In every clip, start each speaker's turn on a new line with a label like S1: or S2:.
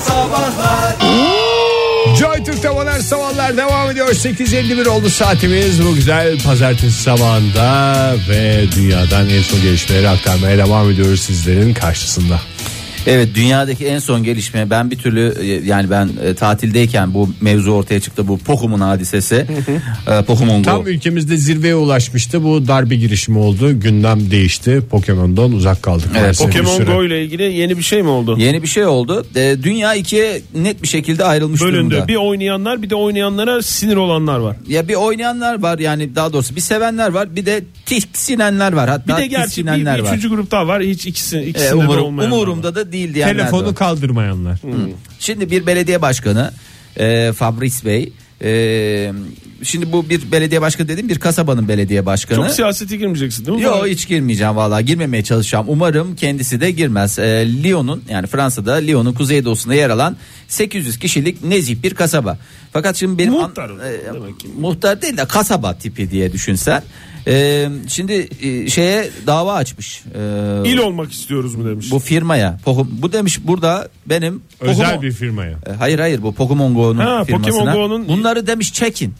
S1: Sabahlar
S2: Joy Türk'te modern sabahlar devam ediyor. 8.51 oldu saatimiz bu güzel pazartesi sabahında ve dünyadan en son gelişmeleri aktarmaya devam ediyoruz sizlerin karşısında.
S3: Evet dünyadaki en son gelişme ben bir türlü e, yani ben e, tatildeyken bu mevzu ortaya çıktı bu Pokemon hadisesi. E, Pokemon Go.
S2: Tam ülkemizde zirveye ulaşmıştı. Bu darbe girişimi oldu. Gündem değişti. Pokemon'dan uzak kaldık. maalesef bir
S4: Pokemon
S2: süre.
S4: Go ile ilgili yeni bir şey mi oldu?
S3: Yeni bir şey oldu. E, dünya ikiye net bir şekilde ayrılmış
S4: Bölündü.
S3: durumda.
S4: Bir oynayanlar bir de oynayanlara sinir olanlar var.
S3: Ya bir oynayanlar var yani daha doğrusu bir sevenler var bir de tiksinenler var. Hatta
S4: Bir de gerçi bir,
S3: tiksinenler
S4: bir
S3: var.
S4: üçüncü grup daha var. Hiç ikisi, ikisinde
S3: E,
S4: de
S3: umurum,
S4: olmayan var.
S3: umurumda da değil diyenler de var.
S2: Telefonu kaldırmayanlar.
S3: Şimdi bir belediye başkanı e, Fabrice Bey e, şimdi bu bir belediye başkanı dediğim bir kasabanın belediye başkanı.
S4: Çok siyasete girmeyeceksin değil mi?
S3: Yok hiç girmeyeceğim vallahi girmemeye çalışacağım. Umarım kendisi de girmez. Ee, Lyon'un yani Fransa'da Lyon'un kuzeydoğusunda yer alan 800 kişilik nezih bir kasaba. Fakat şimdi benim an- Ee,
S4: Muhtar o zaman demek ki.
S3: muhtar değil de kasaba tipi diye düşünsen. Ee, şimdi e, şeye dava açmış. Ee,
S4: İl olmak istiyoruz mu demiş.
S3: bu firmaya. Pokemon- Bu demiş burada benim
S2: Özel
S3: Pokemon-
S2: bir firmaya.
S3: E, Hayır hayır bu Pokemon Go'nun
S4: Ha, Pokemon
S3: firmasına.
S4: Go'nun-
S3: Bunları demiş çekin.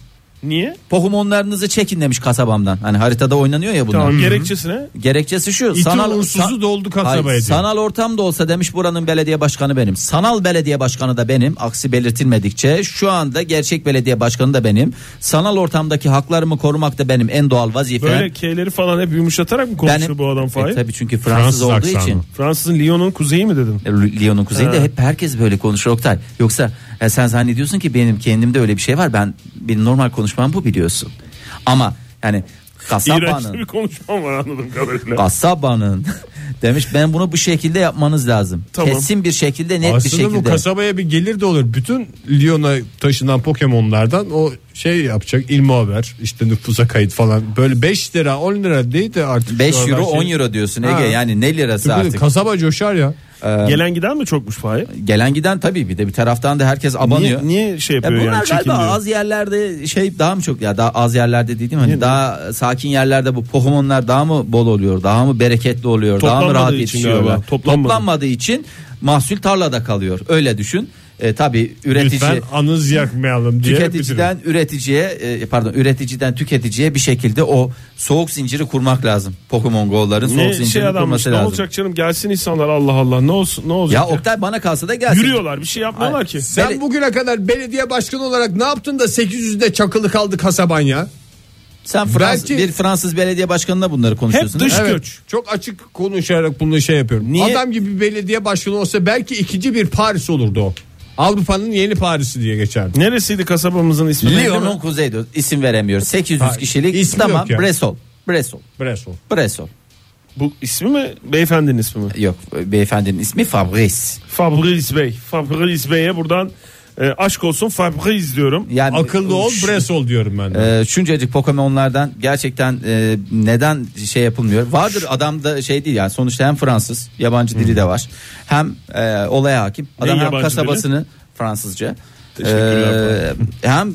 S4: Niye?
S3: Pokemon'larınızı çekin demiş kasabamdan. Hani haritada oynanıyor ya bunlar.
S4: Tamam gerekçesine.
S3: Gerekçesi şu.
S2: İti uğursuzu doldu kasabaya
S3: Hayır,
S2: diyor.
S3: sanal ortamda olsa demiş buranın belediye başkanı benim. Sanal belediye başkanı da benim. Aksi belirtilmedikçe şu anda gerçek belediye başkanı da benim. Sanal ortamdaki haklarımı korumak da benim en doğal vazifem.
S4: Böyle K'leri falan hep yumuşatarak mı konuşuyor
S3: Benim-
S4: bu adam
S3: E,
S4: Fahir?
S3: tabii çünkü Fransız,
S2: Fransız
S3: olduğu
S2: aksanı.
S3: için.
S4: Fransız'ın Lyon'un kuzeyi mi dedin?
S3: E, Lyon'un kuzeyinde hep herkes böyle konuşur Oktay. Yoksa e, sen zannediyorsun ki benim kendimde öyle bir şey var. Ben benim normal konuşmam bu biliyorsun. Ama yani
S4: İğrençli
S3: kasabanın
S4: bir konuşmam var anladığım kadarıyla.
S3: kasabanın demiş ben bunu bu şekilde yapmanız lazım.
S4: Tamam.
S3: Kesin bir şekilde net bir
S2: Aslında bu
S3: şekilde.
S2: kasabaya bir gelir de olur. Bütün Lyon'a taşınan Pokemon'lardan o şey yapacak ilmi haber işte nüfusa kayıt falan böyle 5 lira 10 lira değil de artık.
S3: 5
S2: şu
S3: euro
S2: aralar
S3: 10
S2: şey-
S3: euro diyorsun
S2: Ha.
S3: Ege yani ne lirası
S2: Tabii,
S3: artık.
S2: Kasaba coşar ya.
S3: Ee,
S4: Gelen giden mi çokmuş Fahir?
S3: Gelen giden tabii bir de bir taraftan da herkes abanıyor.
S4: Niye, niye şey
S3: Ya
S4: yapıyor
S3: bunlar
S4: yani
S3: galiba
S4: çekiliyor?
S3: az yerlerde şey daha mı çok ya daha az yerlerde dediğim hani daha sakin yerlerde bu Pokemon'lar daha mı bol oluyor daha mı bereketli oluyor daha mı
S4: Toplanmadığı
S3: rahat
S4: için
S3: yetişiyorlar
S4: galiba, toplanmadı.
S3: toplanmadığı için mahsul tarlada kalıyor öyle düşün e, tabii üretici
S2: Lütfen anız yakmayalım diye. bitirin.
S3: tüketiciden üreticiye e, pardon üreticiden tüketiciye bir şekilde o soğuk zinciri kurmak lazım Pokemon Go'ların soğuk
S4: Ne
S3: zincirini
S4: şey adammış
S3: kurması
S4: ne
S3: lazım.
S4: olacak canım gelsin insanlar Allah Allah ne olsun ne olacak?
S3: Ya Oktay bana kalsa da gelsin.
S4: Yürüyorlar bir şey yapmıyorlar
S3: Hayır.
S4: ki.
S2: Sen Bele- bugüne kadar belediye başkanı olarak ne yaptın da 800'de çakılı kaldı kasaban ya?
S3: Sen Fransız
S2: Belki-
S3: bir Fransız belediye başkanına bunları konuşuyorsun.
S4: Hep
S3: değil
S4: dış
S3: mi?
S4: göç.
S2: Çok açık konuşarak bunu şey yapıyorum.
S3: Niye?
S2: Adam gibi bir belediye başkanı olsa belki ikinci bir Paris olurdu o. Avrupa'nın yeni Paris'i diye geçerdi.
S4: Neresiydi kasabamızın ismi? neydi
S3: Lyon'un
S4: mi?
S3: kuzeydoğu isim veremiyor. 800 kişilik
S2: ismi
S3: tamam
S2: yok ya.
S3: Bresol. Bresol.
S2: Bresol.
S3: Bresol.
S4: Bu ismi mi? Beyefendinin ismi mi?
S3: Yok beyefendinin ismi Fabrice.
S4: Fabrice Bey. Fabrice Bey'e buradan e, aşk olsun Fabrice diyorum.
S3: Yani
S2: Akıllı ol
S3: şu-
S2: Bresol diyorum ben de.
S3: e, şuncacık Pokemon'lardan gerçekten e, neden şey yapılmıyor? Vardır adamda şey değil yani sonuçta hem Fransız yabancı dili de var. Hem e, olaya hakim. Adam hem
S4: Hmm. yabancı
S3: kasabasını Fransızca.
S4: Teşekkürler.
S3: e, hem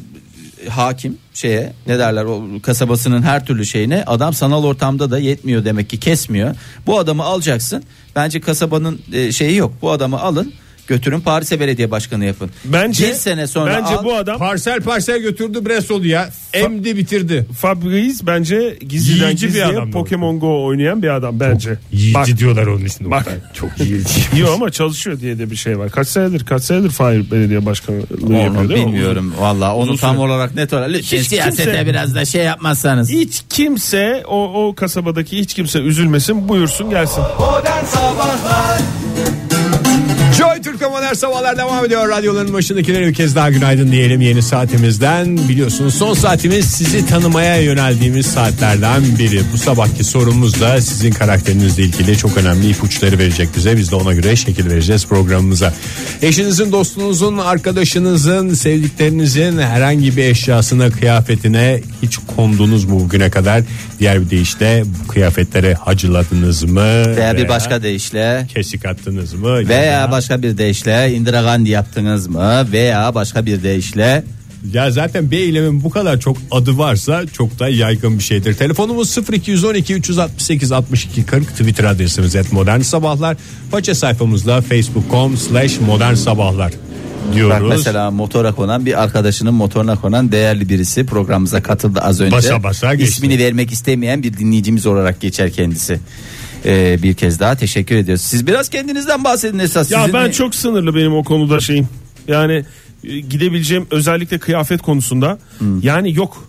S3: hakim şeye ne derler o kasabasının her türlü şeyine adam sanal ortamda da yetmiyor demek ki kesmiyor. Bu adamı alacaksın. Bence kasabanın e, şeyi yok. Bu adamı alın götürün Paris'e belediye başkanı yapın.
S4: Bence
S3: bir sene sonra
S4: bence
S3: al-
S4: bu adam
S2: Parsel parsel götürdü Bresol'u ya. Emdi bitirdi.
S4: Fabrice bence gizliden
S2: Yiyici bir
S4: gizliye
S2: adam bu.
S4: Pokemon Go oynayan bir adam bence. Bak
S2: diyorlar onun için.
S4: bak.
S2: Çok yiyici.
S4: Yok ama çalışıyor diye de bir şey var. Kaç senedir kaç senedir Fahir Belediye Başkanlığı yapıyor
S3: Onu
S4: değil mi?
S3: bilmiyorum valla onu tam olarak net olarak lütfen
S4: Hiç
S3: siyasete
S4: kimse-
S3: biraz da şey yapmazsanız.
S4: Hiç kimse o, o kasabadaki hiç kimse üzülmesin buyursun gelsin.
S1: Modern Sabahlar
S2: Joy Türk'te modern sabahlar devam ediyor. Radyoların başındakilere bir kez daha günaydın diyelim yeni saatimizden. Biliyorsunuz son saatimiz sizi tanımaya yöneldiğimiz saatlerden biri. Bu sabahki sorumuz da sizin karakterinizle ilgili çok önemli ipuçları verecek bize. Biz de ona göre şekil vereceğiz programımıza. Eşinizin, dostunuzun, arkadaşınızın, sevdiklerinizin herhangi bir eşyasına, kıyafetine hiç kondunuz mu bugüne kadar? Diğer bir deyişle bu kıyafetlere hacıladınız mı?
S3: Veya bir başka deyişle
S2: kesik attınız mı?
S3: veya başka bir deyişle Indira Gandhi yaptınız mı veya başka bir deyişle
S2: Ya zaten bir eylemin bu kadar çok adı varsa çok da yaygın bir şeydir. Telefonumuz 0212 368 62 40 Twitter adresimiz et modern sabahlar. Faça sayfamızda facebook.com slash modern sabahlar diyoruz.
S3: Bak mesela motora konan bir arkadaşının motoruna konan değerli birisi programımıza katıldı az önce.
S2: Basa basa geçti.
S3: İsmini vermek istemeyen bir dinleyicimiz olarak geçer kendisi. Ee, bir kez daha teşekkür ediyoruz. Siz biraz kendinizden bahsedin esas.
S4: Ya
S3: Sizin
S4: ben
S3: ne-
S4: çok sınırlı benim o konuda şeyim. Yani e, gidebileceğim özellikle kıyafet konusunda yani yok.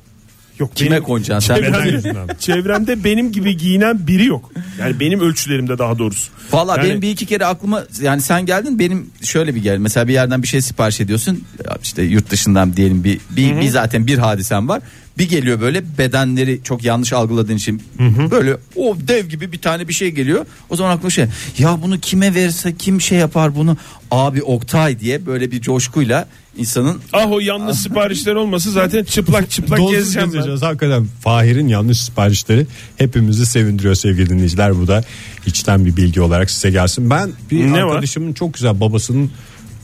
S4: Yok
S3: Hmm. Kime
S4: benim-
S3: konacaksın sen?
S2: Neden
S4: Çevremde,
S2: yüzünden?
S4: çevremde benim gibi giyinen biri yok. Yani benim ölçülerimde daha doğrusu.
S3: Valla
S4: Yani-
S3: benim bir iki kere aklıma yani sen geldin benim şöyle bir gel mesela bir yerden bir şey sipariş ediyorsun Ya işte yurt dışından diyelim bir bir, bir zaten bir hadisem var bir geliyor böyle bedenleri çok yanlış algıladığın için böyle o dev gibi bir tane bir şey geliyor o zaman aklıma şey ya bunu kime verse kim şey yapar bunu abi Oktay diye böyle bir coşkuyla insanın
S4: Ah o yalnız siparişler olmasa zaten çıplak çıplak
S2: Donsuz
S4: gezeceğim ben.
S2: gezeceğiz. Hakikaten Fahir'in yanlış siparişleri hepimizi sevindiriyor sevgili dinleyiciler. Bu da içten bir bilgi olarak size gelsin. Ben bir
S4: Ne var?
S2: arkadaşımın çok güzel babasının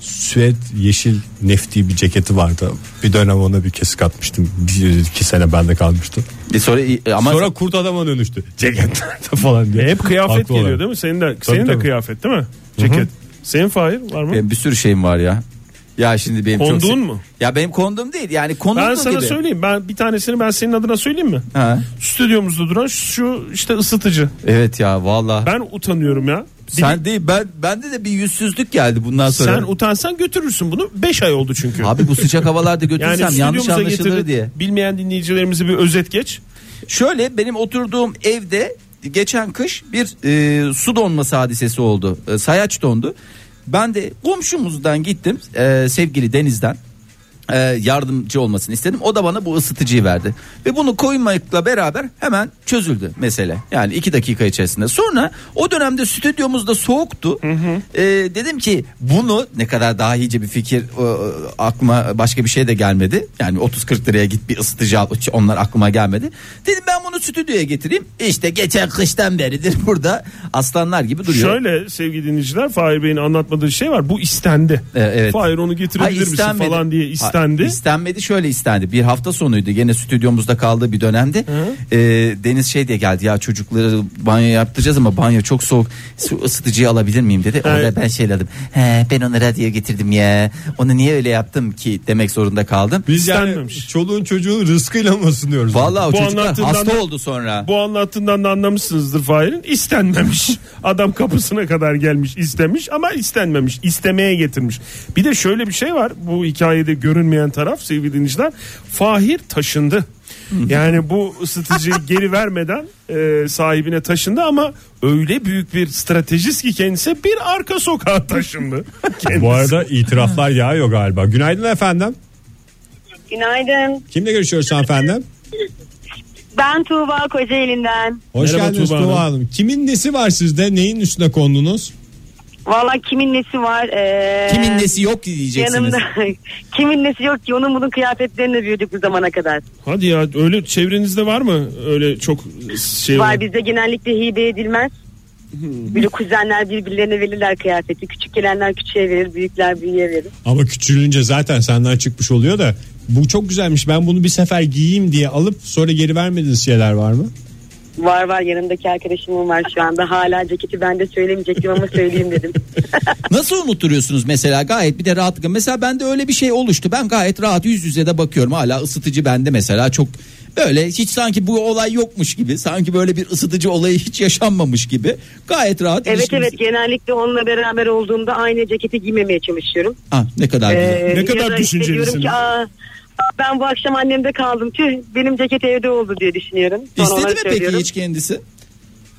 S2: süet yeşil nefti bir ceketi vardı. Bir dönem ona bir kesik atmıştım. Bir iki sene bende kalmıştı.
S3: e sonra e, ama
S2: Sonra kurt adama dönüştü. Ceketlerde falan diye.
S4: E, Hep kıyafet
S2: Haklı
S4: geliyor
S2: olarak.
S4: değil mi? Senin de senin de
S2: tabii.
S4: kıyafet değil mi? Ceket. Senin Fahir var mı?
S3: benim bir sürü şeyim var ya ya şimdi benim çok
S4: Konduğun
S3: se-
S4: mu?
S3: ya benim konduğum değil yani konduğum
S4: Ben sana
S3: gibi.
S4: söyleyeyim. Ben bir tanesini ben senin adına söyleyeyim mi?
S3: Ha.
S4: Stüdyomuzda duran şu işte ısıtıcı.
S3: Evet ya valla.
S4: Ben utanıyorum ya. Bir-
S3: Sen değil ben bende de bir yüzsüzlük geldi bundan sonra.
S4: sen utansan götürürsün bunu. 5 ay oldu çünkü.
S3: Abi bu sıcak havalarda götürsem yanlış
S4: stüdyomuza
S3: anlaşılır
S4: getirdik.
S3: diye.
S4: Bilmeyen dinleyicilerimizi bir özet geç.
S3: Şöyle benim oturduğum evde geçen kış bir e, su donması hadisesi oldu. E, sayaç dondu. Ben de komşumuzdan gittim e, sevgili Deniz'den e, yardımcı olmasını istedim. O da bana bu ısıtıcıyı verdi. Ve bunu koymakla beraber hemen çözüldü mesele. Yani iki dakika içerisinde. Sonra o dönemde stüdyomuzda soğuktu. E, dedim ki bunu ne kadar dahice bir fikir e, aklıma başka bir şey de gelmedi. Yani 30-40 liraya git bir ısıtıcı al. Hiç Onlar aklıma gelmedi. Dedim ben bunu stüdyoya getireyim. İşte geçen kıştan beridir burada aslanlar gibi duruyor.
S4: Şöyle sevgili dinleyiciler Fahir Bey'in anlatmadığı şey var. Bu istendi.
S3: E, evet.
S4: Fahir onu getirebilir
S3: Hayır,
S4: misin
S3: istenmedi.
S4: falan diye istendi.
S3: Ha, istenmedi şöyle istendi. Bir hafta sonuydu. Gene stüdyomuzda kaldığı bir dönemde. E, Deniz şey diye geldi. Ya çocukları banyo yaptıracağız ama banyo çok soğuk. Su ısıtıcıyı alabilir miyim dedi.
S4: Evet.
S3: Orada ben şeyledim. He, ben onu radyoya getirdim ya. Onu niye öyle yaptım ki demek zorunda kaldım.
S2: Biz yani
S4: İstenmemiş.
S2: çoluğun çocuğun rızkıyla mı ısınıyoruz?
S3: Vallahi o
S4: Bu
S3: çocuklar
S4: anlattığından
S3: hasta
S4: da-
S3: oldu sonra.
S4: Bu anlattığından da anlamışsınızdır Fahir'in. İstenmemiş. Adam kapısına kadar gelmiş istemiş ama istenmemiş. İstemeye getirmiş. Bir de şöyle bir şey var. Bu hikayede görünmeyen taraf sevgili dinleyiciler. Fahir taşındı. Yani bu ısıtıcıyı geri vermeden e, sahibine taşındı ama öyle büyük bir stratejist ki kendisi bir arka sokağa taşındı.
S2: Bu arada itiraflar yağıyor galiba. Günaydın efendim.
S5: Günaydın.
S2: Kimle görüşüyoruz efendim?
S5: Ben Tuğba Kocaeli'nden.
S2: Hoş
S4: Merhaba
S2: geldiniz
S4: Tuğba
S2: Tuğba
S4: Hanım.
S2: Hanım. Kimin nesi var sizde? Neyin üstüne kondunuz?
S5: Valla kimin nesi var? ee,
S3: Kimin nesi yok diyeceksiniz.
S5: Yanımda. kimin nesi yok ki? Onun bunun kıyafetlerini büyüdük bu zamana kadar.
S4: Hadi ya öyle çevrenizde var mı öyle çok şey
S5: Var bizde genellikle hibe edilmez.
S3: Hmm.
S5: Böyle kuzenler birbirlerine verirler kıyafeti. Küçük gelenler küçüğe verir, büyükler büyüğe verir.
S2: Ama küçülünce zaten senden çıkmış oluyor da bu çok güzelmiş ben bunu bir sefer giyeyim diye alıp sonra geri vermediğiniz şeyler var mı?
S5: Var var yanımdaki arkadaşımın var şu anda. Hala ceketi ben de söylemeyecektim ama söyleyeyim dedim.
S3: Nasıl unutturuyorsunuz mesela gayet bir de rahatlıkla. Mesela bende öyle bir şey oluştu. Ben gayet rahat yüz yüze de bakıyorum. Hala ısıtıcı bende mesela çok böyle hiç sanki bu olay yokmuş gibi. Sanki böyle bir ısıtıcı olayı hiç yaşanmamış gibi. Gayet rahat.
S5: evet
S3: ilişkimiz-
S5: evet genellikle onunla beraber olduğumda aynı ceketi giymemeye çalışıyorum.
S3: Ha, ne kadar güzel.
S5: Ee,
S4: Ne kadar
S5: ya da işte diyorum
S4: düşüncelisiniz.
S5: ki, "Aa, Ben bu akşam annemde kaldım. Tüh benim ceket evde oldu diye düşünüyorum. Sonra
S3: İstedi
S5: ona
S3: mi peki
S5: söylüyorum.
S3: hiç kendisi?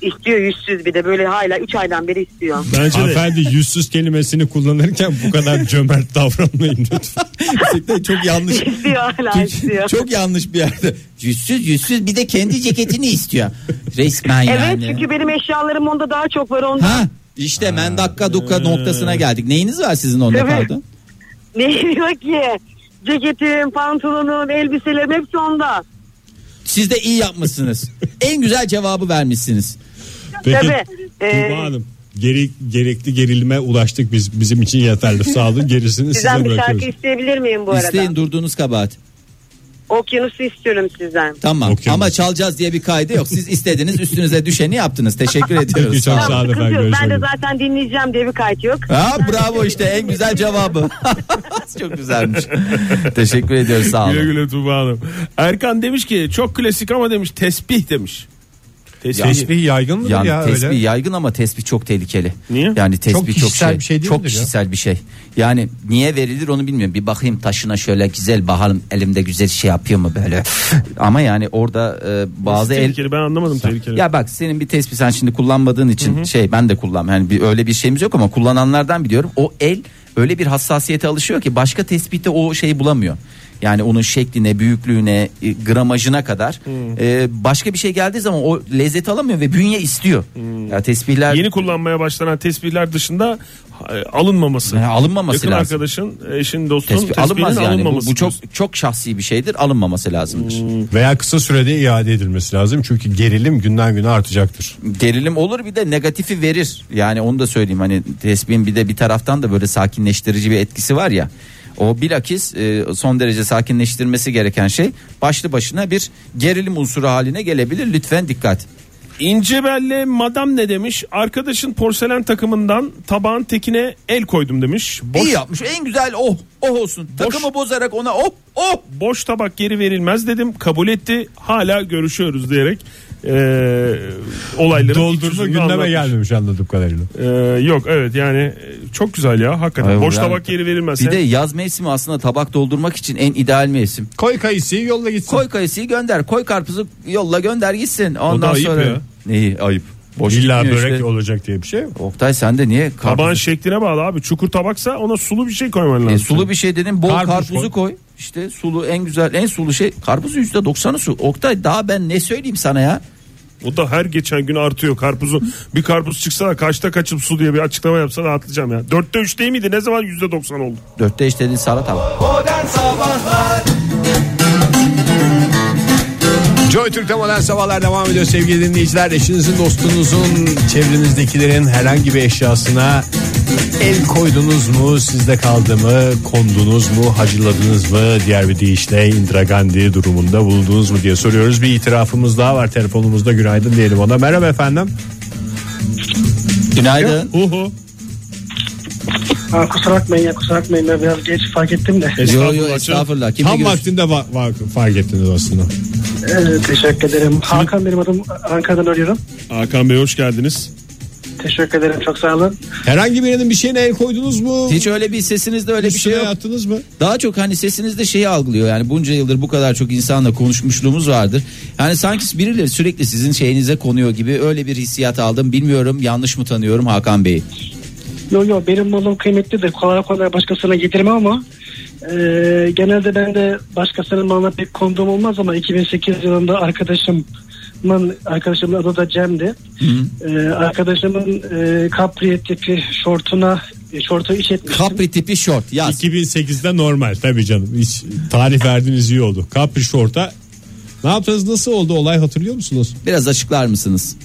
S5: İstiyor yüzsüz bir de böyle hala 3 aydan beri istiyor.
S4: Bence de.
S2: Hanımefendi yüzsüz kelimesini kullanırken bu kadar cömert davranmayın lütfen.
S3: Gerçekten çok yanlış.
S5: istiyor hala istiyor.
S3: çok yanlış bir yerde. Yüzsüz yüzsüz bir de kendi ceketini istiyor. Resmen
S5: Evet
S3: yani.
S5: çünkü benim eşyalarım onda daha çok var onda.
S3: Ha işte men dakika duka noktasına geldik. Neyiniz var sizin onda
S5: Evet.
S3: pardon?
S5: Ne diyor ki? Ceketim, pantolonum, elbiselerim hepsi onda.
S3: Siz de iyi yapmışsınız. en güzel cevabı vermişsiniz.
S2: Peki
S5: Tabii, ee,
S2: Tuğba Hanım geri, gerekli gerilime ulaştık biz bizim için yeterli sağ olun gerisini size
S5: Sizden bir şarkı
S2: bırakıyoruz.
S5: isteyebilir miyim bu arada?
S3: İsteyin durduğunuz kabahat.
S5: Okyanusu istiyorum sizden.
S3: Tamam
S2: Okey.
S3: ama çalacağız diye bir kaydı yok. Siz istediniz üstünüze düşeni yaptınız. Teşekkür ediyoruz.
S2: Çok
S5: Tamam,
S2: sağ olun
S5: sıkıntı yok.
S2: efendim,
S5: Ben de
S2: görüşmek üzere.
S5: zaten dinleyeceğim diye bir kayıt yok.
S3: Ha, bravo işte en güzel cevabı. Çok güzelmiş. Teşekkür ediyoruz sağ
S4: Güle
S3: olun.
S4: güle Tuba Hanım. Erkan demiş ki çok klasik ama demiş tesbih demiş. Tesbih.
S2: Tesbih yaygın mıdır
S3: Yani
S2: ya
S3: tesbih
S2: öyle?
S3: yaygın ama tesbih çok tehlikeli.
S4: Niye?
S3: Yani tesbih çok,
S2: kişisel
S3: şey,
S2: bir şey değil
S3: çok
S2: midir ya?
S3: kişisel bir şey. Yani niye verilir onu bilmiyorum. Bir bakayım taşına şöyle güzel bakalım elimde güzel şey yapıyor mu böyle. ama yani orada e, bazı el
S4: tehlikeli ben anlamadım tehlikeli.
S3: Ya bak senin bir tespih sen şimdi kullanmadığın için şey ben de kullan. Yani bir, öyle bir şeyimiz yok ama kullananlardan biliyorum. O el öyle bir hassasiyete alışıyor ki başka tespihte o şeyi bulamıyor. Yani onun şekline, büyüklüğüne, e, gramajına kadar E, başka bir şey geldiği zaman o lezzeti alamıyor ve bünye istiyor. Ya tespihler
S4: Yeni kullanmaya başlanan tesbihler dışında e, alınmaması.
S3: Yani alınmaması
S4: Yakın
S3: lazım.
S4: arkadaşın, eşin, dostun
S3: tespih
S4: tesbihinin
S3: alınmaz yani. Bu,
S4: alınmaması.
S3: bu çok çok şahsi bir şeydir. Alınmaması lazımdır.
S2: Veya kısa sürede iade edilmesi lazım çünkü gerilim günden güne artacaktır.
S3: gerilim olur bir de negatifi verir. Yani onu da söyleyeyim hani tesbihin bir de bir taraftan da böyle sakinleştirici bir etkisi var ya. O bilakis e, son derece sakinleştirmesi gereken şey başlı başına bir gerilim unsuru haline gelebilir. Lütfen dikkat.
S4: İnce belli madam ne demiş? Arkadaşın porselen takımından tabağın tekine el koydum demiş. Boş,
S3: İyi yapmış. En güzel oh oh olsun. Takımı bozarak ona oh oh.
S4: boş tabak geri verilmez dedim. Kabul etti. Hala görüşüyoruz diyerek e, olayları
S2: Doldurma gündeme gelmemiş anladığım kadarıyla.
S4: Ee, yok evet yani e, çok güzel ya hakikaten.
S3: Ay,
S4: boş
S3: yani-
S4: tabak geri verilmez.
S3: Bir de yaz mevsimi aslında tabak doldurmak için en ideal mevsim.
S2: Koy kayısıyı yolla gitsin.
S3: Koy kayısıyı gönder. Koy karpuzu yolla gönder gitsin. Ondan
S4: ayıp
S3: sonra
S4: ya.
S3: neyi ayıp. Boş
S2: İlla
S3: gitmiyor
S2: börek
S3: işte.
S2: olacak diye bir şey yok.
S3: Oktay sen de niye
S4: Tabağın
S3: karpuz
S4: şekline bağlı abi. Çukur tabaksa ona sulu bir şey koyman lazım.
S3: E, sulu bir şey dedim bol
S2: Karpuz
S3: karpuzu koy.
S2: koy.
S3: İşte sulu en güzel en sulu şey karpuzun yüzde doksanı su. Oktay daha ben ne söyleyeyim sana ya.
S4: O da her geçen gün artıyor karpuzun. Bir karpuz çıksa da kaçta kaçım su diye bir açıklama yapsa rahatlayacağım ya. Dörtte üç değil miydi? Ne zaman yüzde doksan oldu?
S3: Dörtte işte dedin salata var.
S1: Modern Sabahlar
S2: Joy Türk'te modern sabahlar devam ediyor sevgili dinleyiciler. Eşinizin, dostunuzun, çevrenizdekilerin herhangi bir eşyasına el koydunuz mu, sizde kaldı mı, kondunuz mu, hacıladınız mı, diğer bir deyişle Indira Gandhi durumunda bulundunuz mu diye soruyoruz. Bir itirafımız daha var telefonumuzda günaydın diyelim ona. Merhaba efendim.
S3: Günaydın.
S4: Uhu.
S6: Ha, kusura bakmayın ya kusura bakmayın ben biraz geç fark ettim de.
S3: Yo yo
S4: Estağfurullah,
S3: estağfurullah. Kimle
S2: Tam
S3: görüş-
S2: vaktinde va- va- fark ettiniz aslında.
S6: Ee, teşekkür ederim. Hakan benim adım Ankara'dan arıyorum.
S4: Hakan Bey hoş geldiniz.
S6: Teşekkür ederim çok sağ olun.
S2: Herhangi birinin bir şeyine el koydunuz mu?
S3: Hiç öyle bir sesinizde öyle bir şey
S2: Üstüne
S3: yok.
S2: attınız mı?
S3: Daha çok hani sesinizde şeyi algılıyor yani bunca yıldır bu kadar çok insanla konuşmuşluğumuz vardır. Yani sanki birileri sürekli sizin şeyinize konuyor gibi öyle bir hissiyat aldım. Bilmiyorum yanlış mı tanıyorum Hakan Bey'i.
S6: Yo yo benim malım kıymetlidir. Kolay kolay başkasına getirmem ama e, genelde ben de başkasının malına pek konduğum olmaz ama 2008 yılında arkadaşımın arkadaşımın adı da Cem'di. E, arkadaşımın e, kapri tipi şortuna e, şortu iç etmiştim.
S3: Capri tipi şort yaz.
S2: 2008'de normal tabii canım. Hiç tarih verdiğiniz iyi oldu. Capri Short'a ne yaptınız nasıl oldu olay hatırlıyor musunuz?
S3: Biraz açıklar mısınız?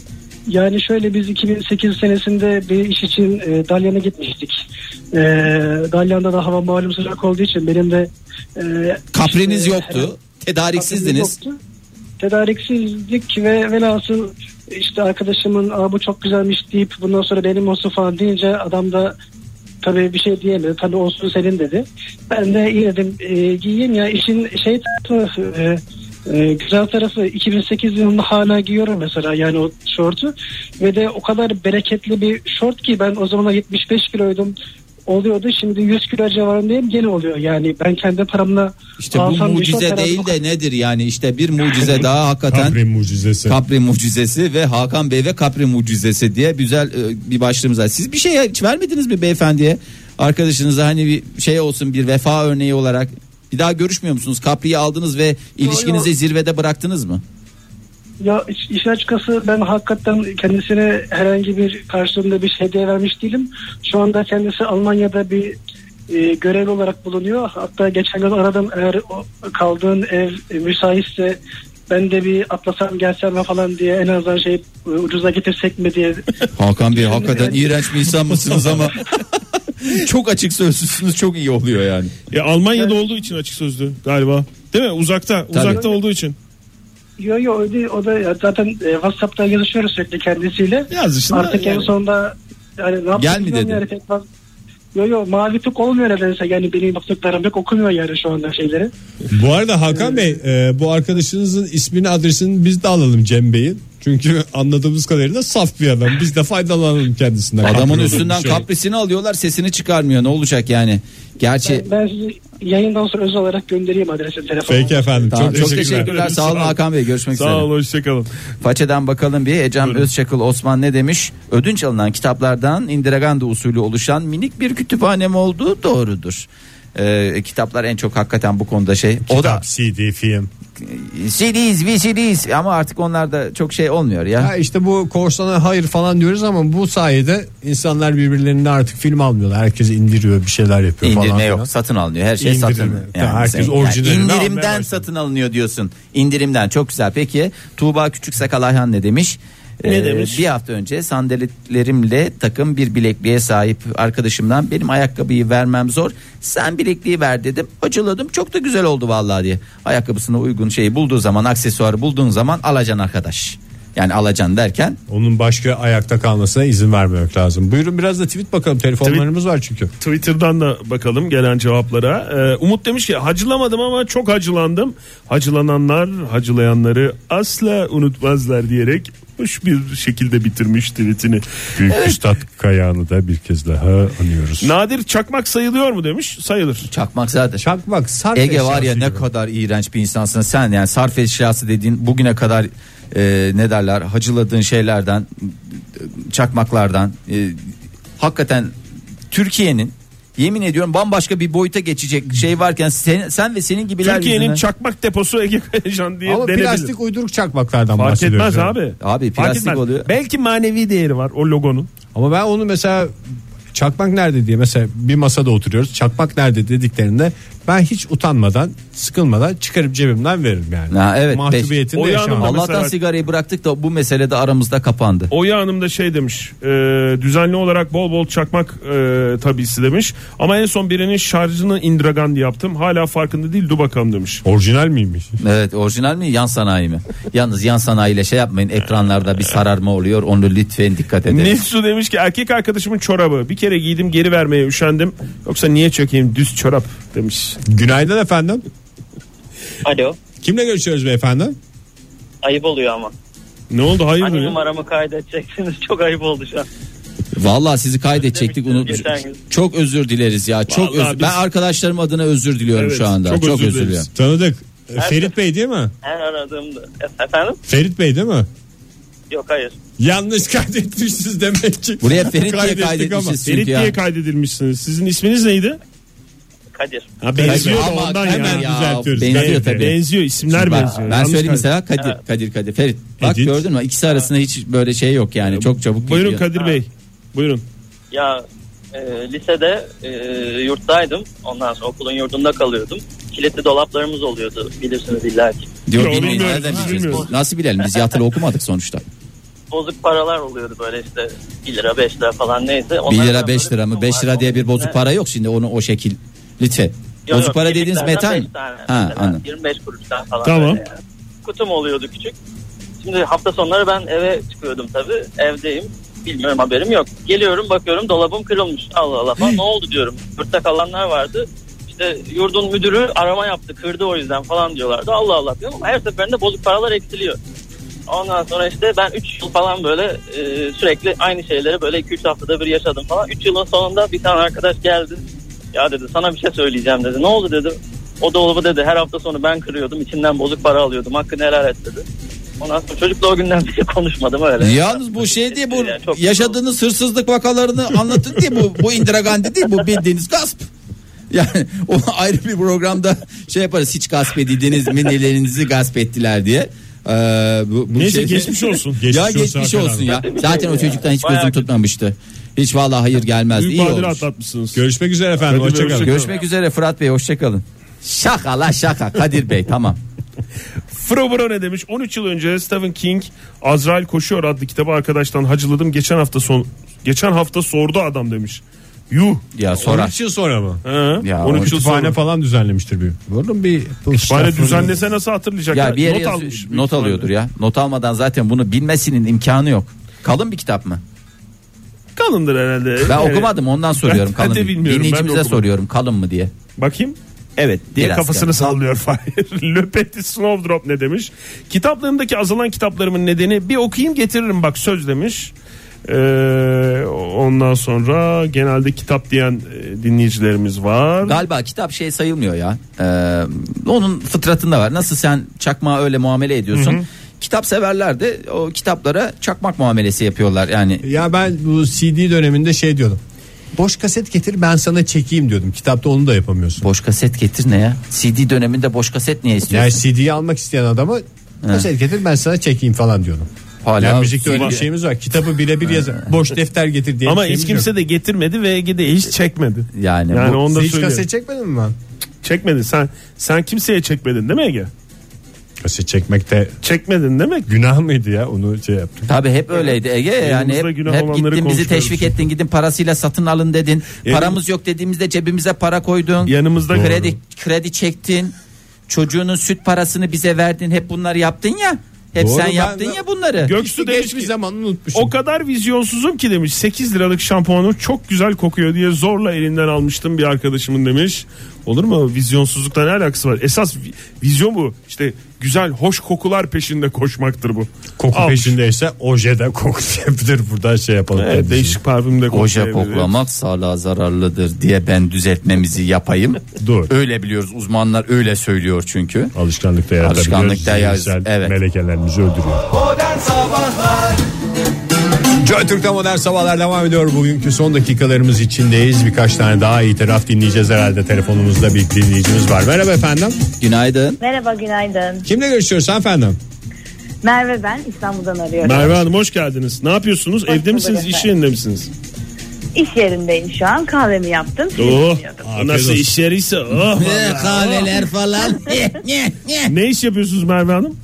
S6: Yani şöyle biz 2008 senesinde bir iş için e, Dalyan'a gitmiştik. E, Dalyan'da da hava malum sıcak olduğu için benim de... E,
S3: Kapriniz
S6: işte-
S3: yoktu. Tedariksizdiniz.
S6: Kapriniz yoktu. Tedariksizdik ve velhasıl işte arkadaşımın Aa, bu çok güzelmiş deyip bundan sonra benim olsun falan deyince adam da tabii bir şey diyemedi. Tabii olsun senin dedi. Ben de iyi dedim e, giyeyim ya işin şey tarafı e, e, güzel tarafı 2008 yılında hala giyiyorum mesela yani o şortu ve de o kadar bereketli bir şort ki ben o zamanlar 75 kiloydum oluyordu şimdi 100 kilo civarındayım gene oluyor yani ben kendi paramla
S3: İşte bu
S6: alsam bir şort
S3: mucize
S6: herhalde o
S3: değil de nedir yani işte bir mucize daha hakikaten
S2: Capri mucizesi.
S3: Capri mucizesi ve Hakan Bey ve Capri mucizesi diye güzel e, bir başlığımız var. Siz bir şey hiç vermediniz mi beyefendiye? Arkadaşınıza hani bir şey olsun bir vefa örneği olarak bir daha görüşmüyor musunuz? Capri'yi aldınız ve ilişkinizi zirvede bıraktınız mı?
S6: Ya iş- işin açıkçası ben hakikaten kendisine herhangi bir karşılığında bir şey hediye vermiş değilim. Şu anda kendisi Almanya'da bir e, görevli olarak bulunuyor. Hatta geçen gün aradım eğer o kaldığın ev e, müsaitse ben de bir atlasam gelsem mi falan diye en azından şey e, ucuza getirsek mi diye.
S3: Hakan Bey hakikaten iğrenç bir insan mısınız ama çok açık sözlüsünüz çok iyi oluyor yani.
S4: E, Ya Almanya'da olduğu için açık sözlü galiba. Değil mi? Uzakta. Uzakta olduğu için.
S6: Yo yo o, değil, o da ya zaten e, WhatsApp'ta yazışıyoruz sürekli kendisiyle.
S4: Yazışın da
S6: Artık en
S4: yani.
S6: sonunda yani ne yaptım
S3: Gel mi
S6: bilmiyorum
S3: dedi?
S6: yani pek fazla- Yo yo mavi tık olmuyor nedense yani benim yaptıklarım yok okumuyor yani şu anda şeyleri.
S2: Bu arada Hakan Bey e, bu arkadaşınızın ismini adresini biz de alalım Cem Bey'in. Çünkü anladığımız kadarıyla saf bir adam. Biz de faydalanalım kendisinden.
S3: Adamın
S2: Kapri
S3: üstünden
S2: olmuş yani.
S3: kaprisini alıyorlar sesini çıkarmıyor ne olacak yani. Gerçi
S6: Ben sizi yayından sonra özel olarak göndereyim adresi telefonu.
S2: Peki efendim.
S3: Tamam,
S2: çok, teşekkürler.
S3: Sağ olun
S4: Sağ olun.
S3: Hakan Bey görüşmek üzere.
S4: Sağ ol hoşçakalın.
S3: Façeden bakalım bir Ecem Özçakıl Osman ne demiş? Ödünç alınan kitaplardan indiraganda usulü oluşan minik bir kütüphanem olduğu doğrudur. Ee, kitaplar en çok hakikaten bu konuda şey. O da
S2: Kitap, CD, film.
S3: CDs, VCDs ama artık onlar da çok şey olmuyor ya.
S2: Ya işte bu korsana hayır falan diyoruz ama bu sayede insanlar birbirlerine artık film almıyorlar. Herkes indiriyor bir şeyler yapıyor falan.
S3: İndirme
S2: filan.
S3: yok satın alınıyor her şey
S2: İndirme.
S3: satın.
S2: Tamam, herkes
S3: sen-
S2: orijinalini almaya
S3: indirimden
S2: başladı.
S3: satın alınıyor diyorsun. İndirimden çok güzel. Peki Tuğba Küçük Sakal Ayhan ne demiş?
S4: Ne
S3: Ee,
S4: demiş?
S3: Bir hafta önce sandaletlerimle takım bir bilekliğe sahip arkadaşımdan benim ayakkabıyı vermem zor. Sen bilekliği ver dedim. Acıladım çok da güzel oldu vallahi diye. Ayakkabısına uygun şeyi bulduğu zaman aksesuarı bulduğun zaman alacan arkadaş. Yani alacan derken
S2: Onun başka ayakta kalmasına izin vermemek lazım. Buyurun biraz da tweet bakalım. Telefonlarımız var çünkü.
S4: Twitter'dan da bakalım gelen cevaplara. Ee, Umut demiş ki hacılamadım ama çok hacılandım. Hacılananlar hacılayanları asla unutmazlar diyerek hoş bir şekilde bitirmiş tweetini.
S2: Büyük Üstad Kayağan'ı da bir kez daha anıyoruz.
S4: Nadir çakmak sayılıyor mu demiş? Sayılır.
S3: çakmak zaten.
S2: Çakmak sarf
S3: Ege var ya
S2: eşyası
S3: ne
S2: gibi.
S3: kadar iğrenç bir insansın sen yani sarf eşyası dediğin bugüne kadar e, ne derler hacıladığın şeylerden e, çakmaklardan e, hakikaten Türkiye'nin yemin ediyorum bambaşka bir boyuta geçecek şey varken sen, sen ve senin gibiler
S4: Türkiye'nin
S3: yüzünden-
S4: çakmak deposu Ege Kayacan diye
S2: Ama
S4: denebilir.
S2: plastik uyduruk çakmaklardan
S4: Fark
S2: bahsediyoruz.
S4: etmez
S2: yani.
S4: abi.
S3: Abi
S4: Fark
S3: plastik
S4: etmez.
S3: oluyor.
S4: Belki manevi değeri var o logonun.
S2: Ama ben onu mesela çakmak nerede diye mesela bir masada oturuyoruz. Çakmak nerede dediklerinde ben hiç utanmadan sıkılmadan çıkarıp cebimden veririm yani.
S3: Ha, evet,
S2: Mahcubiyetini
S4: beş-
S2: de
S4: O yanımda-
S2: yaşamam.
S4: Mesela-
S3: Allah'tan sigarayı bıraktık da bu mesele de aramızda kapandı.
S4: Oya Hanım da şey demiş e, düzenli olarak bol bol çakmak e, tabisi demiş ama en son birinin şarjını indiragandi yaptım hala farkında değil dur bakalım demiş.
S2: Orijinal miymiş?
S3: Evet orijinal mi yan sanayi mi? Yalnız yan sanayiyle şey yapmayın ekranlarda bir sararma oluyor onu lütfen dikkat edin.
S4: Nefsu demiş ki erkek arkadaşımın çorabı bir kere giydim geri vermeye üşendim yoksa niye çökeyim düz çorap demiş.
S2: Günaydın efendim.
S7: Alo.
S2: Kimle görüşüyoruz beyefendi?
S7: Ayıp oluyor ama.
S4: Ne oldu hayırdır?
S7: Hani
S4: ya?
S7: numaramı kaydedeceksiniz. Çok ayıp oldu şu an.
S3: Vallahi sizi kaydedecektik
S7: Demiştim
S3: unutmuş.
S7: geçen gün.
S3: Çok özür dileriz ya. Çok
S4: Vallahi
S3: öz-
S4: biz-
S3: ben arkadaşlarım adına özür diliyorum
S4: Evet,
S3: şu anda.
S4: çok
S3: Çok,
S4: özür
S3: özür
S4: dileriz.
S3: diliyorum.
S2: Tanıdık. E, Ferit Bey değil mi?
S7: Her aradığımda. E- Efendim?
S2: Ferit Bey değil mi?
S7: Yok hayır.
S2: Yanlış kaydetmişsiniz demek ki.
S3: Buraya Ferit diye
S2: Kaydettik ama.
S3: kaydetmişiz
S4: Ferit
S3: çünkü ya.
S4: diye kaydedilmişsiniz. Sizin isminiz neydi?
S7: Kadir.
S4: Ha,
S2: benziyor
S4: benziyor
S2: da
S3: Ama
S4: ondan
S3: hemen
S4: ya.
S2: ya. düzeltiyoruz.
S3: Benziyor
S2: Gayet
S3: tabii.
S4: E, Benziyor isimler
S3: Bak,
S4: benziyor.
S3: ben
S4: Yalnız
S3: söyleyeyim
S4: kardeşim.
S3: mesela Kadir,
S7: Evet.
S3: Kadir Kadir Ferit. Bak
S2: Edit.
S3: gördün mü ikisi arasında hiç böyle şey yok yani çok çabuk.
S4: Buyurun
S3: gidiyor.
S4: Kadir
S7: Ha.
S4: Bey. Buyurun.
S7: Ya e, lisede e, yurttaydım. Ondan sonra okulun yurdunda kalıyordum. Kilitli dolaplarımız oluyordu bilirsiniz illa ki.
S3: Diyor,
S4: Yok,
S3: bilmiyoruz,
S4: bilmiyoruz,
S3: nereden
S4: biz
S3: bileceğiz biz?
S4: bilmiyoruz.
S3: Nasıl bilelim biz yatılı okumadık sonuçta.
S7: Bozuk paralar oluyordu böyle işte 1 lira 5 lira falan neyse.
S3: 1
S7: Onlardan
S3: lira 5
S7: böyle
S3: lira mı
S7: bir
S3: 5
S7: var.
S3: lira diye bir bozuk
S7: Evet.
S3: para yok şimdi onu o şekil. Lütfen.
S7: Yok,
S3: bozuk
S7: yok,
S3: para dediğiniz
S7: birliklerden
S3: metal mi?
S7: beş tane
S3: Ha
S7: mesela.
S3: anladım.
S7: 25 kuruştan falan.
S4: Tamam.
S7: böyle yani. Kutum oluyordu küçük. Şimdi hafta sonları ben eve çıkıyordum tabii. Evdeyim. Bilmiyorum haberim yok. Geliyorum bakıyorum dolabım kırılmış. Allah Allah falan ne oldu diyorum. Yurtta kalanlar vardı. İşte yurdun müdürü arama yaptı kırdı o yüzden falan diyorlardı. Allah Allah diyorum ama her seferinde bozuk paralar eksiliyor. Ondan sonra işte ben 3 yıl falan böyle e, sürekli aynı şeyleri böyle 2-3 haftada bir yaşadım falan. 3 yılın sonunda bir tane arkadaş geldi. Ya dedi sana bir şey söyleyeceğim dedi. Ne oldu dedim. O dolabı dedi her hafta sonu ben kırıyordum. içinden bozuk para alıyordum. Hakkını helal et dedi. Ondan sonra çocukla o günden beri konuşmadım öyle.
S3: Yalnız bu şey diye bu
S7: Yani çok-
S3: yaşadığınız hırsızlık vakalarını anlatın diye bu bu indiragandi değil bu bildiğiniz gasp. Yani o ayrı bir programda şey yaparız hiç gasp edildiniz mi nelerinizi gasp ettiler diye. Ee, bu, bu
S4: Neyse
S3: şey-
S4: geçmiş olsun.
S3: ya
S2: Geçmiş olsun
S3: geçmiş
S2: Hakan
S3: olsun
S2: abi.
S3: ya. Zaten o çocuktan hiç
S7: Bayağı
S3: gözüm
S7: kötü.
S3: tutmamıştı. Hiç vallahi hayır gelmez.
S4: Büyük
S3: İyi
S4: badire
S3: olmuş.
S4: atlatmışsınız.
S2: Görüşmek üzere efendim.
S4: Hadi
S2: Hoşçakalın.
S4: görüşürüz.
S3: Görüşmek üzere Fırat Bey hoşçakalın. Şaka la şaka Kadir Bey tamam.
S4: Frobro ne demiş? 13 yıl önce Stephen King Azrail Koşuyor adlı kitabı arkadaştan hacıladım. Geçen hafta son geçen hafta sordu adam demiş. Yuh.
S3: Ya
S2: Sonra.
S3: sorar.
S2: için sonra mı?
S4: Ha,
S3: Ya,
S4: 13 yıl
S2: Kütüphane
S4: sonra.
S2: falan düzenlemiştir bir.
S3: Bunun bir
S4: Kütüphane düzenlese nasıl hatırlayacak?
S3: ya bir yere yazıyor- not,
S4: almış büyük
S3: alıyordur
S4: ihtimalle.
S3: ya. Not almadan zaten bunu bilmesinin imkanı yok. Kalın bir kitap mı?
S4: Kalındır herhalde. Ee,
S3: Ben
S4: Evet.
S3: okumadım ondan soruyorum
S4: Ben- ben
S3: kalın.
S4: de
S3: mı?
S4: bilmiyorum, ben de
S3: Dinleyicimize
S4: okumadım.
S3: soruyorum kalın mı diye.
S4: Bakayım.
S3: Evet.
S4: Diye
S3: biraz
S4: kafasını
S3: kalın.
S4: sallıyor Fahir. Löpeti Snowdrop ne demiş? Kitaplarımdaki azalan kitaplarımın nedeni bir okuyayım getiririm bak söz demiş. Ee, ondan sonra genelde kitap diyen e, dinleyicilerimiz var.
S3: Galiba kitap şey sayılmıyor ya. Ee, onun fıtratında var. Nasıl sen çakmağa öyle muamele ediyorsun. Kitap severler de o kitaplara çakmak muamelesi yapıyorlar. Yani
S2: Ya ben bu CD döneminde şey diyordum. Boş kaset getir ben sana çekeyim diyordum. Kitapta onu da yapamıyorsun.
S3: boş kaset getir ne ya? CD döneminde boş kaset niye istiyorsun?
S2: Yani CD'yi almak isteyen adama kaset getir ben sana çekeyim falan diyordum.
S3: Hala
S2: yani
S4: şey-
S2: müzikte öyle bir
S3: CD
S2: şeyimiz var. Kitabı birebir yazar. Boş defter getir diye.
S4: Ama
S2: bir şey
S4: hiç
S2: şeyimiz
S4: kimse de getirmedi ve de hiç çekmedi.
S3: Yani,
S4: Yani
S3: bu-
S4: onu
S2: yok.
S4: da
S2: Siz hiç
S4: söylüyorum.
S2: kaset çekmedin mi ben?
S4: Çekmedin sen sen kimseye çekmedin değil mi Ege?
S2: Kaset çekmekte
S4: Çekmedin değil mi?
S2: günah mıydı ya onu şey yaptım.
S3: Tabii hep öyleydi Ege yani hep,
S4: günah
S3: hep
S4: olanları
S3: gittin bizi
S4: konuşuyoruz.
S3: teşvik ettin gidin parasıyla satın alın dedin.
S4: Yani-
S3: Paramız yok dediğimizde cebimize para koydun.
S4: Yanımızda-
S3: kredi kredi çektin. Çocuğunun süt parasını bize verdin. Hep bunları yaptın ya. Hep
S2: Doğru,
S3: sen
S2: ben-
S3: yaptın ya bunları.
S4: Göksu demiş
S2: Geçmiş
S4: ki
S2: zaman unutmuşum.
S4: o kadar vizyonsuzum ki demiş 8 liralık şampuanım çok güzel kokuyor diye zorla elinden almıştım bir arkadaşımın demiş. Olur mu? Vizyonsuzlukla ne alakası var? Esas vi- vizyon bu. İşte güzel hoş kokular peşinde koşmaktır bu.
S2: Koku
S4: Al.
S2: peşindeyse oje de koku yapılır. Buradan şey yapalım.
S4: Evet, değişik parfümde
S3: Oje
S4: koklayabilir.
S3: koklamak sağlığa zararlıdır diye ben düzeltmemizi yapayım.
S2: Dur.
S3: Öyle biliyoruz uzmanlar öyle söylüyor çünkü.
S2: Alışkanlıkta yaratabiliyoruz.
S3: Alışkanlıkta yaz-
S2: Zihinsel
S3: evet.
S2: Melekelerimizi öldürüyor.
S1: Modern Sabahlar
S2: Joy Türk'te modern sabahlar devam ediyor. Bugünkü son dakikalarımız içindeyiz. Birkaç tane daha itiraf dinleyeceğiz herhalde. Telefonumuzda bir dinleyicimiz var. Merhaba efendim.
S3: Günaydın.
S8: Merhaba günaydın.
S2: Kimle görüşüyoruz efendim?
S8: Merve ben İstanbul'dan arıyorum.
S4: Merve Hanım hoş geldiniz. Ne yapıyorsunuz? Evde
S8: bulduk
S4: misiniz? İş
S8: efendim.
S4: yerinde misiniz?
S8: İş yerindeyim şu an kahvemi yaptım.
S4: Oh,
S8: Dinliyordum.
S4: nasıl
S2: olsun.
S4: iş yeriyse. oh vallahi.
S3: Kahveler falan.
S4: Ne iş yapıyorsunuz Merve Hanım?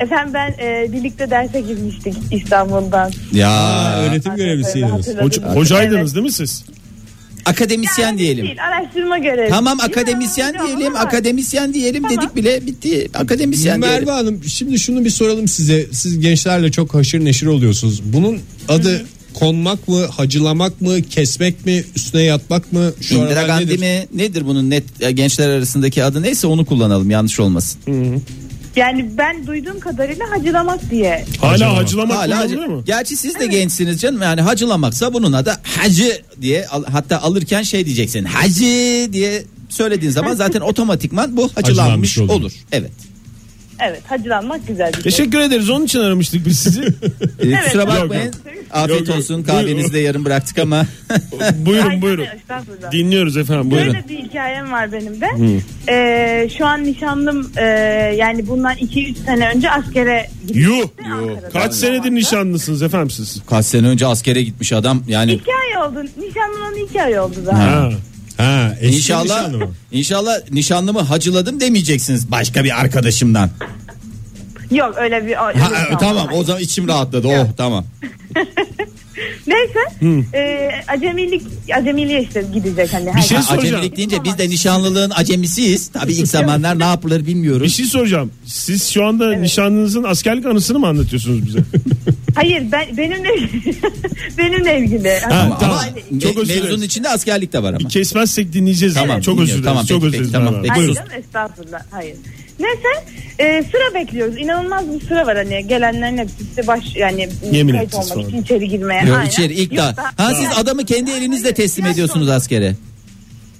S8: Efendim ben e, birlikte derse girmiştik İstanbul'dan.
S3: ya
S2: öğretim görevlisiydiniz.
S8: Hatırladım.
S4: Hoca- hocaydınız değil mi siz?
S3: akademisyen diyelim.
S8: Değil, araştırma görevi.
S3: Tamam akademisyen diyelim, akademisyen diyelim dedik bile bitti. Akademisyen
S2: Merve
S3: diyelim.
S2: Hanım şimdi şunu bir soralım size. Siz gençlerle çok haşır neşir oluyorsunuz. Bunun adı konmak mı, hacılamak mı, kesmek mi, üstüne yatmak mı? Şu
S3: İndira
S2: aralar
S3: Gandhi
S2: nedir?
S3: mi? Nedir bunun net e, gençler arasındaki adı neyse onu kullanalım yanlış olmasın.
S8: Yani ben duyduğum kadarıyla hacılamak diye.
S4: Hala
S2: Hacılama.
S4: hacılama
S3: Hala hacı-
S4: kullanılıyor mu?
S3: Gerçi siz de gençsiniz canım yani hacılamaksa bunun adı hacı diye al- hatta alırken şey diyeceksin hacı diye söylediğin zaman zaten otomatikman bu hacılanmış
S2: Hacılanmış olur.
S3: olur. Evet.
S8: Evet hacılanmak güzel bir şey.
S4: Teşekkür ederiz. Onun için aramıştık biz sizi.
S3: Ee, kusura
S8: yok,
S3: bakmayın. Afiyet
S4: Yok, yok.
S3: olsun kahvenizi de yarım bıraktık ama
S4: buyurun
S8: Aynen,
S4: buyurun.
S8: estağfurullah.
S4: Dinliyoruz efendim buyurun.
S8: Böyle bir hikayem var benim de. Ee, şu an nişanlım e, yani bundan 2-3 sene önce askere gitti.
S4: Yuh.
S8: Ankara'da.
S4: Kaç senedir nişanlısınız efendim siz?
S3: kaç sene önce askere gitmiş adam yani
S8: İki ay oldu. Nişanlının iki ay oldu zaten.
S4: Ha.
S2: Ha, eski
S3: İnşallah
S2: nişanlı mı?
S3: inşallah nişanlımı hacıladım demeyeceksiniz başka bir arkadaşımdan.
S8: Yok öyle bir... öyle bir- şey
S3: Ha, e, tamam o zaman içim rahatladı. Oh tamam.
S8: Neyse. E, acemilik, acemiliğe işte gidecek hani.
S4: Bir şey
S3: Ha,
S8: herkes.
S4: soracağım.
S3: acemilik deyince biz de nişanlılığın acemisiyiz. Tabii
S8: şey
S3: ilk zamanlar ne yapılır
S4: Bir
S3: bilmiyoruz.
S4: şey soracağım. Siz şu anda nişanlınızın askerlik anısını mı anlatıyorsunuz bize?
S8: Hayır ben, benimle benimle ilgili.
S4: Ha, tamam.
S8: Aile-
S3: Me-
S4: Çok özür dileriz.
S3: mevzunun içinde askerlik de var ama.
S4: Kesmezsek dinleyeceğiz.
S3: Tamam,
S4: Çok özür dileriz.
S3: Tamam,
S4: çok
S3: peki,
S4: özür
S3: peki,
S4: dileriz.
S3: tamam,
S4: Merve.
S3: peki.
S8: Hayır
S4: Buyurun.
S8: canım, estağfurullah. Hayır. Neyse e, sıra bekliyoruz. İnanılmaz bir sıra var hani gelenlerin hepsi işte baş yani
S4: Yemin
S8: kayıt
S4: edeceğiz
S8: olmak
S4: falan.
S8: için içeri girmeye.
S3: Yok,
S8: Aynen.
S3: içeri ilk
S8: Yok
S3: daha.
S8: da-
S3: Ha siz adamı kendi elinizle teslim ediyorsunuz askere.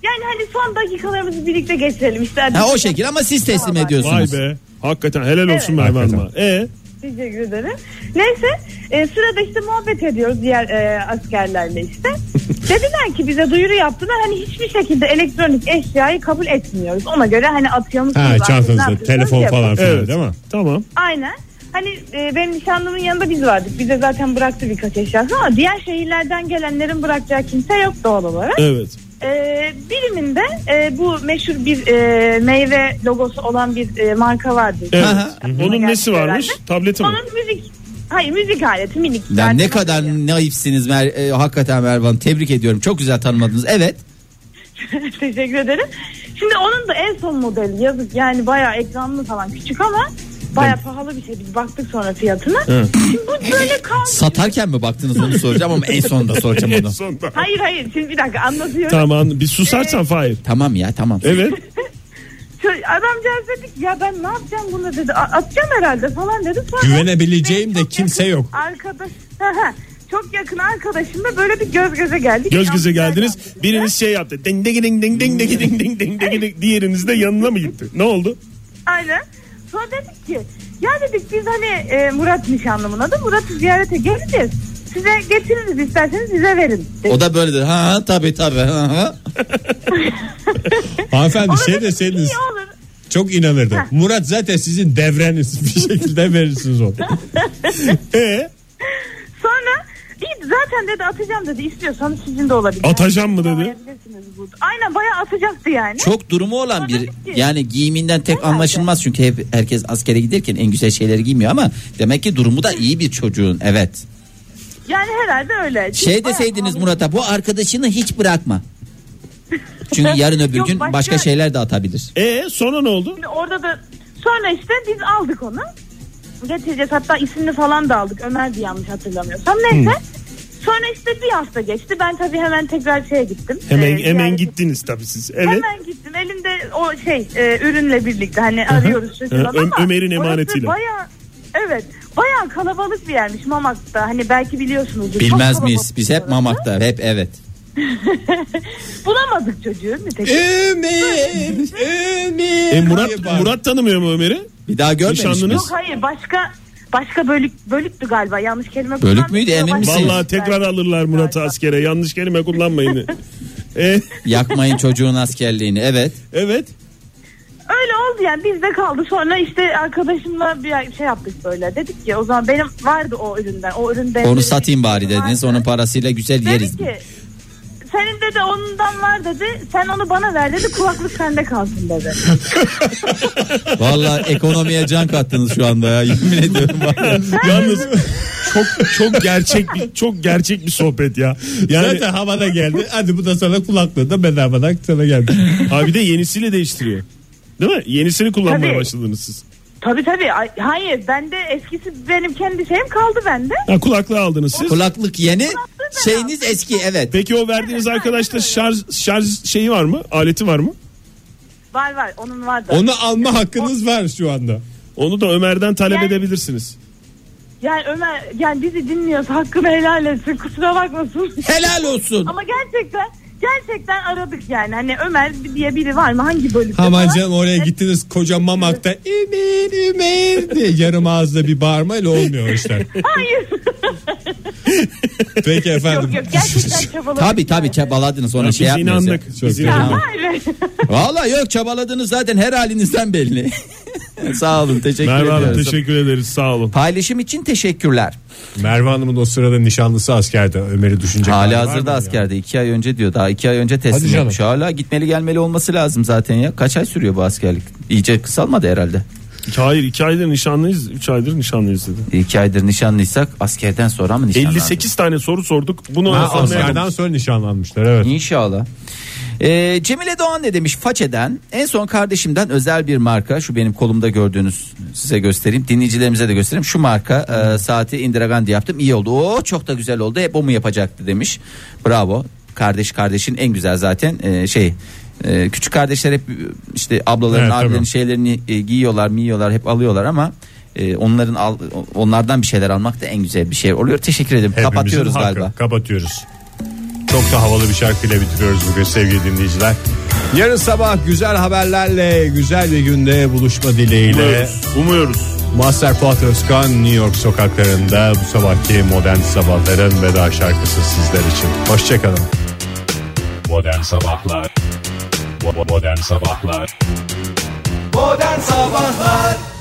S8: Yani hani son dakikalarımızı birlikte geçirelim işte. hadi.
S3: Ha o şey, şekil ama siz teslim
S8: Tamam.
S3: ediyorsunuz.
S4: Vay be. Hakikaten helal olsun
S2: Evet.
S4: Merve Hanım'a. E,
S8: Teşekkür ederim. Neyse e, sırada işte muhabbet ediyoruz diğer e, askerlerle işte. Dediler ki bize duyuru yaptılar hani hiçbir şekilde elektronik eşyayı kabul etmiyoruz. Ona göre hani atıyor musunuz?
S2: Ha,
S8: artık, ne
S2: çantanızda
S8: yapıyorsunuz,
S2: telefon
S8: yapın.
S2: falan filan
S4: evet.
S2: değil mi?
S4: Tamam.
S8: Aynen. Hani e, benim nişanlımın yanında biz vardık. Bize zaten bıraktı birkaç eşyası ama diğer şehirlerden gelenlerin bırakacağı kimse yok doğal olarak.
S4: Evet.
S8: E, biriminde e, bu meşhur bir e, meyve logosu olan bir e, marka vardı.
S4: evet.
S3: Aha.
S4: Onun nesi varmış?
S8: Herhalde.
S4: Tableti mi?
S8: Onun müzik Hayır müzik aleti minik.
S3: Ya
S8: Yani
S3: ne kadar naifsiniz Mer e, hakikaten Mervan. Tebrik ediyorum. Çok güzel tanımladınız. Evet.
S8: Teşekkür ederim. Şimdi onun da en son modeli yazık yani bayağı ekranlı falan küçük ama bayağı pahalı bir şey. Biz baktık sonra fiyatına. Şimdi bu böyle kaldı.
S3: Satarken mi baktınız onu soracağım ama en sonunda soracağım
S4: En
S3: onu.
S4: sonunda.
S8: Hayır hayır şimdi bir dakika anlatıyorum.
S4: Tamam bir susarsan Fahir.
S3: Tamam ya tamam.
S4: Evet.
S8: Şöyle, adamcağız dedi ki ya ben ne yapacağım bunu dedi. "A- Atacağım herhalde falan dedi. Sonra
S2: Güvenebileceğim
S8: benim
S2: de
S8: çok
S2: kimse
S8: yakın
S2: yok.
S8: Arkadaş çok yakın arkadaşımla böyle bir göz göze geldik.
S4: Göz göze
S8: Yalnız
S4: geldiniz.
S8: yerden bize.
S4: Biriniz şey yaptı. Ding ding ding ding ding ding ding ding ding ding ding. Diğeriniz de yanına mı gitti? Ne oldu?
S8: Aynen. Sonra dedik ki ya dedik biz hani e, Murat nişanlımın adı Murat'ı ziyarete geleceğiz. Size getiririz isterseniz bize verin. Dedi.
S3: O da böyle dedi. Ha ha, tabii tabii. Ha, ha.
S2: Hanımefendi
S8: Ona
S2: şey
S8: dedik,
S2: deseydiniz
S8: İyi olur.
S2: çok inanırdım. Murat zaten sizin devreniz bir şekilde verirsiniz onu.
S4: E
S8: Sonra iyi zaten dedi atacağım dedi istiyorsanız sizin de olabilir.
S4: Atacağım mı dedi?
S8: Alabilirsiniz burada. Aynen bayağı atacaktı yani.
S3: Çok durumu olan bir yani giyiminden tek
S8: Herhalde.
S3: anlaşılmaz çünkü hep herkes askere giderken en güzel şeyleri giymiyor ama demek ki durumu da iyi bir çocuğun evet.
S8: Yani herhalde öyle.
S3: Şey
S8: Çünkü bayağı
S3: deseydiniz
S8: pahalı.
S3: Murat'a bu arkadaşını hiç bırakma. Çünkü yarın öbür
S8: Yok,
S3: gün
S8: başka-
S3: başka şeyler de atabilir.
S4: e sonra ne oldu?
S8: Şimdi orada da sonra işte biz aldık onu. Getireceğiz hatta ismini falan da aldık. Ömer diye yanlış hatırlamıyorsam. Neyse. Sonra işte bir hafta geçti. Ben tabii hemen tekrar şeye gittim.
S4: Hemen
S8: Ee,
S4: hemen
S8: yani-
S4: gittiniz tabii siz. Evet.
S8: Hemen gittim. Elimde o şey e, ürünle birlikte hani arıyoruz şu
S4: Hı,
S8: falan
S4: Ö-
S8: ama.
S4: Ömer'in
S8: orası
S4: emanetiyle.
S8: bayağı- evet. Bayağı kalabalık bir yermiş Mamak'ta. Hani belki biliyorsunuz.
S3: Bilmez miyiz? Biz hep mamakta hep evet.
S8: Bulamadık çocuğu nitekim.
S2: Ömer, Ömer.
S4: E Murat
S2: diye bağırdı.
S4: Murat tanımıyor mu Ömer'i?
S3: Bir daha görmemiş
S4: Nişanlınız?
S3: miyiz?
S8: Yok hayır başka başka bölük bölüktü galiba yanlış kelime
S3: Bölük
S8: kullandım.
S3: müydü, emin misiniz?
S4: Vallahi tekrar alırlar Murat'ı askere. Yanlış kelime kullanmayın. e
S3: Yakmayın çocuğun askerliğini evet.
S4: evet.
S8: Öyle oldu yani bizde kaldı sonra işte arkadaşımla bir şey yaptık böyle dedik ki o zaman benim vardı o üründen o üründen.
S3: Onu satayım bari dediniz.
S8: Vardı.
S3: Onun parasıyla güzel
S8: Dedi
S3: yeriz.
S8: ki senin dedi ondan var dedi sen onu bana ver dedi kulaklık sende kalsın dedi.
S3: Vallahi ekonomiye can kattınız şu anda ya. Yemin ediyorum. vallahi.
S4: Yalnız çok çok gerçek bir çok gerçek bir sohbet ya. Yani
S2: Zaten havada geldi. Hadi bu da sana kulaklığı da bedavadan sana geldi.
S4: abi bir de yenisiyle değiştiriyor. Değil mi? Yenisini kullanmaya
S8: Tabii.
S4: başladınız siz.
S8: Tabii tabii ay- hayır bende eskisi benim kendi şeyim kaldı bende.
S4: Ha, kulaklığı aldınız siz.
S3: Kulaklık yeni, şeyiniz eski evet.
S4: Peki o verdiğiniz arkadaşta şarj şarj şeyi var mı? Aleti var mı?
S8: Var var onun vardı.
S2: Onu alma hakkınız var şu anda.
S4: Onu da Ömer'den talep
S8: Yani-
S4: edebilirsiniz.
S8: Yani Ömer yani bizi dinliyorsa hakkını helal etsin kusura bakmasın.
S3: Helal olsun.
S8: Ama gerçekten gerçekten aradık yani. Hani Ömer diye biri var mı? Hangi bölümde?
S2: Aman
S8: falan?
S2: canım oraya
S8: Evet.
S2: gittiniz koca mamakta Ömer Ömer diye yarım ağızla bir bağırmayla olmuyor işler.
S8: Hayır.
S2: Peki
S8: yok
S2: efendim.
S8: yok gerçekten çabaladık.
S3: Tabii tabii çabaladınız ona
S4: Biz
S3: şey yapmıyoruz.
S4: inandık.
S3: ya.
S4: Biz
S2: Çok
S4: inandık.
S3: Tamam.
S8: Hayır.
S3: Valla yok çabaladınız zaten her halinizden belli. Sağ olun teşekkür
S4: Merve Hanım
S3: ediyoruz.
S4: teşekkür ederiz sağ olun.
S3: Paylaşım için teşekkürler.
S2: Merve Hanım'ın o sırada nişanlısı askerde Ömer'i düşünecek.
S3: Hali
S2: hali şey var
S3: hazırda
S2: mı ya?
S3: askerde. iki ay önce diyor. Daha iki ay önce
S2: Hadi
S3: teslim
S2: canım.
S3: olmuş. Hala gitmeli gelmeli olması lazım zaten ya. Kaç ay sürüyor bu askerlik? İyice kısalmadı herhalde.
S4: Hayır iki aydır nişanlıyız. Üç aydır nişanlıyız dedi.
S3: İki aydır nişanlıysak askerden sonra mı nişanlandık?
S4: 58 tane soru sorduk. Bunu
S2: Ha,
S4: anlayamadım.
S2: askerden sonra nişanlanmışlar evet.
S3: İnşallah. Ee, Cemile Doğan ne demiş? Façeden en son kardeşimden özel bir marka şu benim kolumda gördüğünüz size göstereyim dinleyicilerimize de göstereyim şu marka e, saati Indiragandi yaptım iyi oldu o çok da güzel oldu hep o mu yapacaktı demiş bravo kardeş kardeşin en güzel zaten e, şey E, küçük kardeşler hep e, işte ablaların
S2: Evet,
S3: abilerin
S2: tabii.
S3: şeylerini e, giyiyorlar miyiyorlar hep alıyorlar ama e, onların al- onlardan bir şeyler almak da en güzel bir şey oluyor teşekkür ederim
S2: Hepimizin
S3: kapatıyoruz
S2: hakkı.
S3: galiba
S2: Kapatıyoruz. Çok da havalı bir şarkıyla bitiriyoruz bugün sevgili dinleyiciler. Yarın sabah güzel haberlerle güzel bir günde buluşma dileğiyle.
S4: Umuyoruz. Umuyoruz.
S2: Master Fuat Özkan New York sokaklarında bu sabahki modern sabahların veda şarkısı sizler için. Hoşçakalın.
S9: Modern Sabahlar Bo- Modern Sabahlar
S1: Modern Sabahlar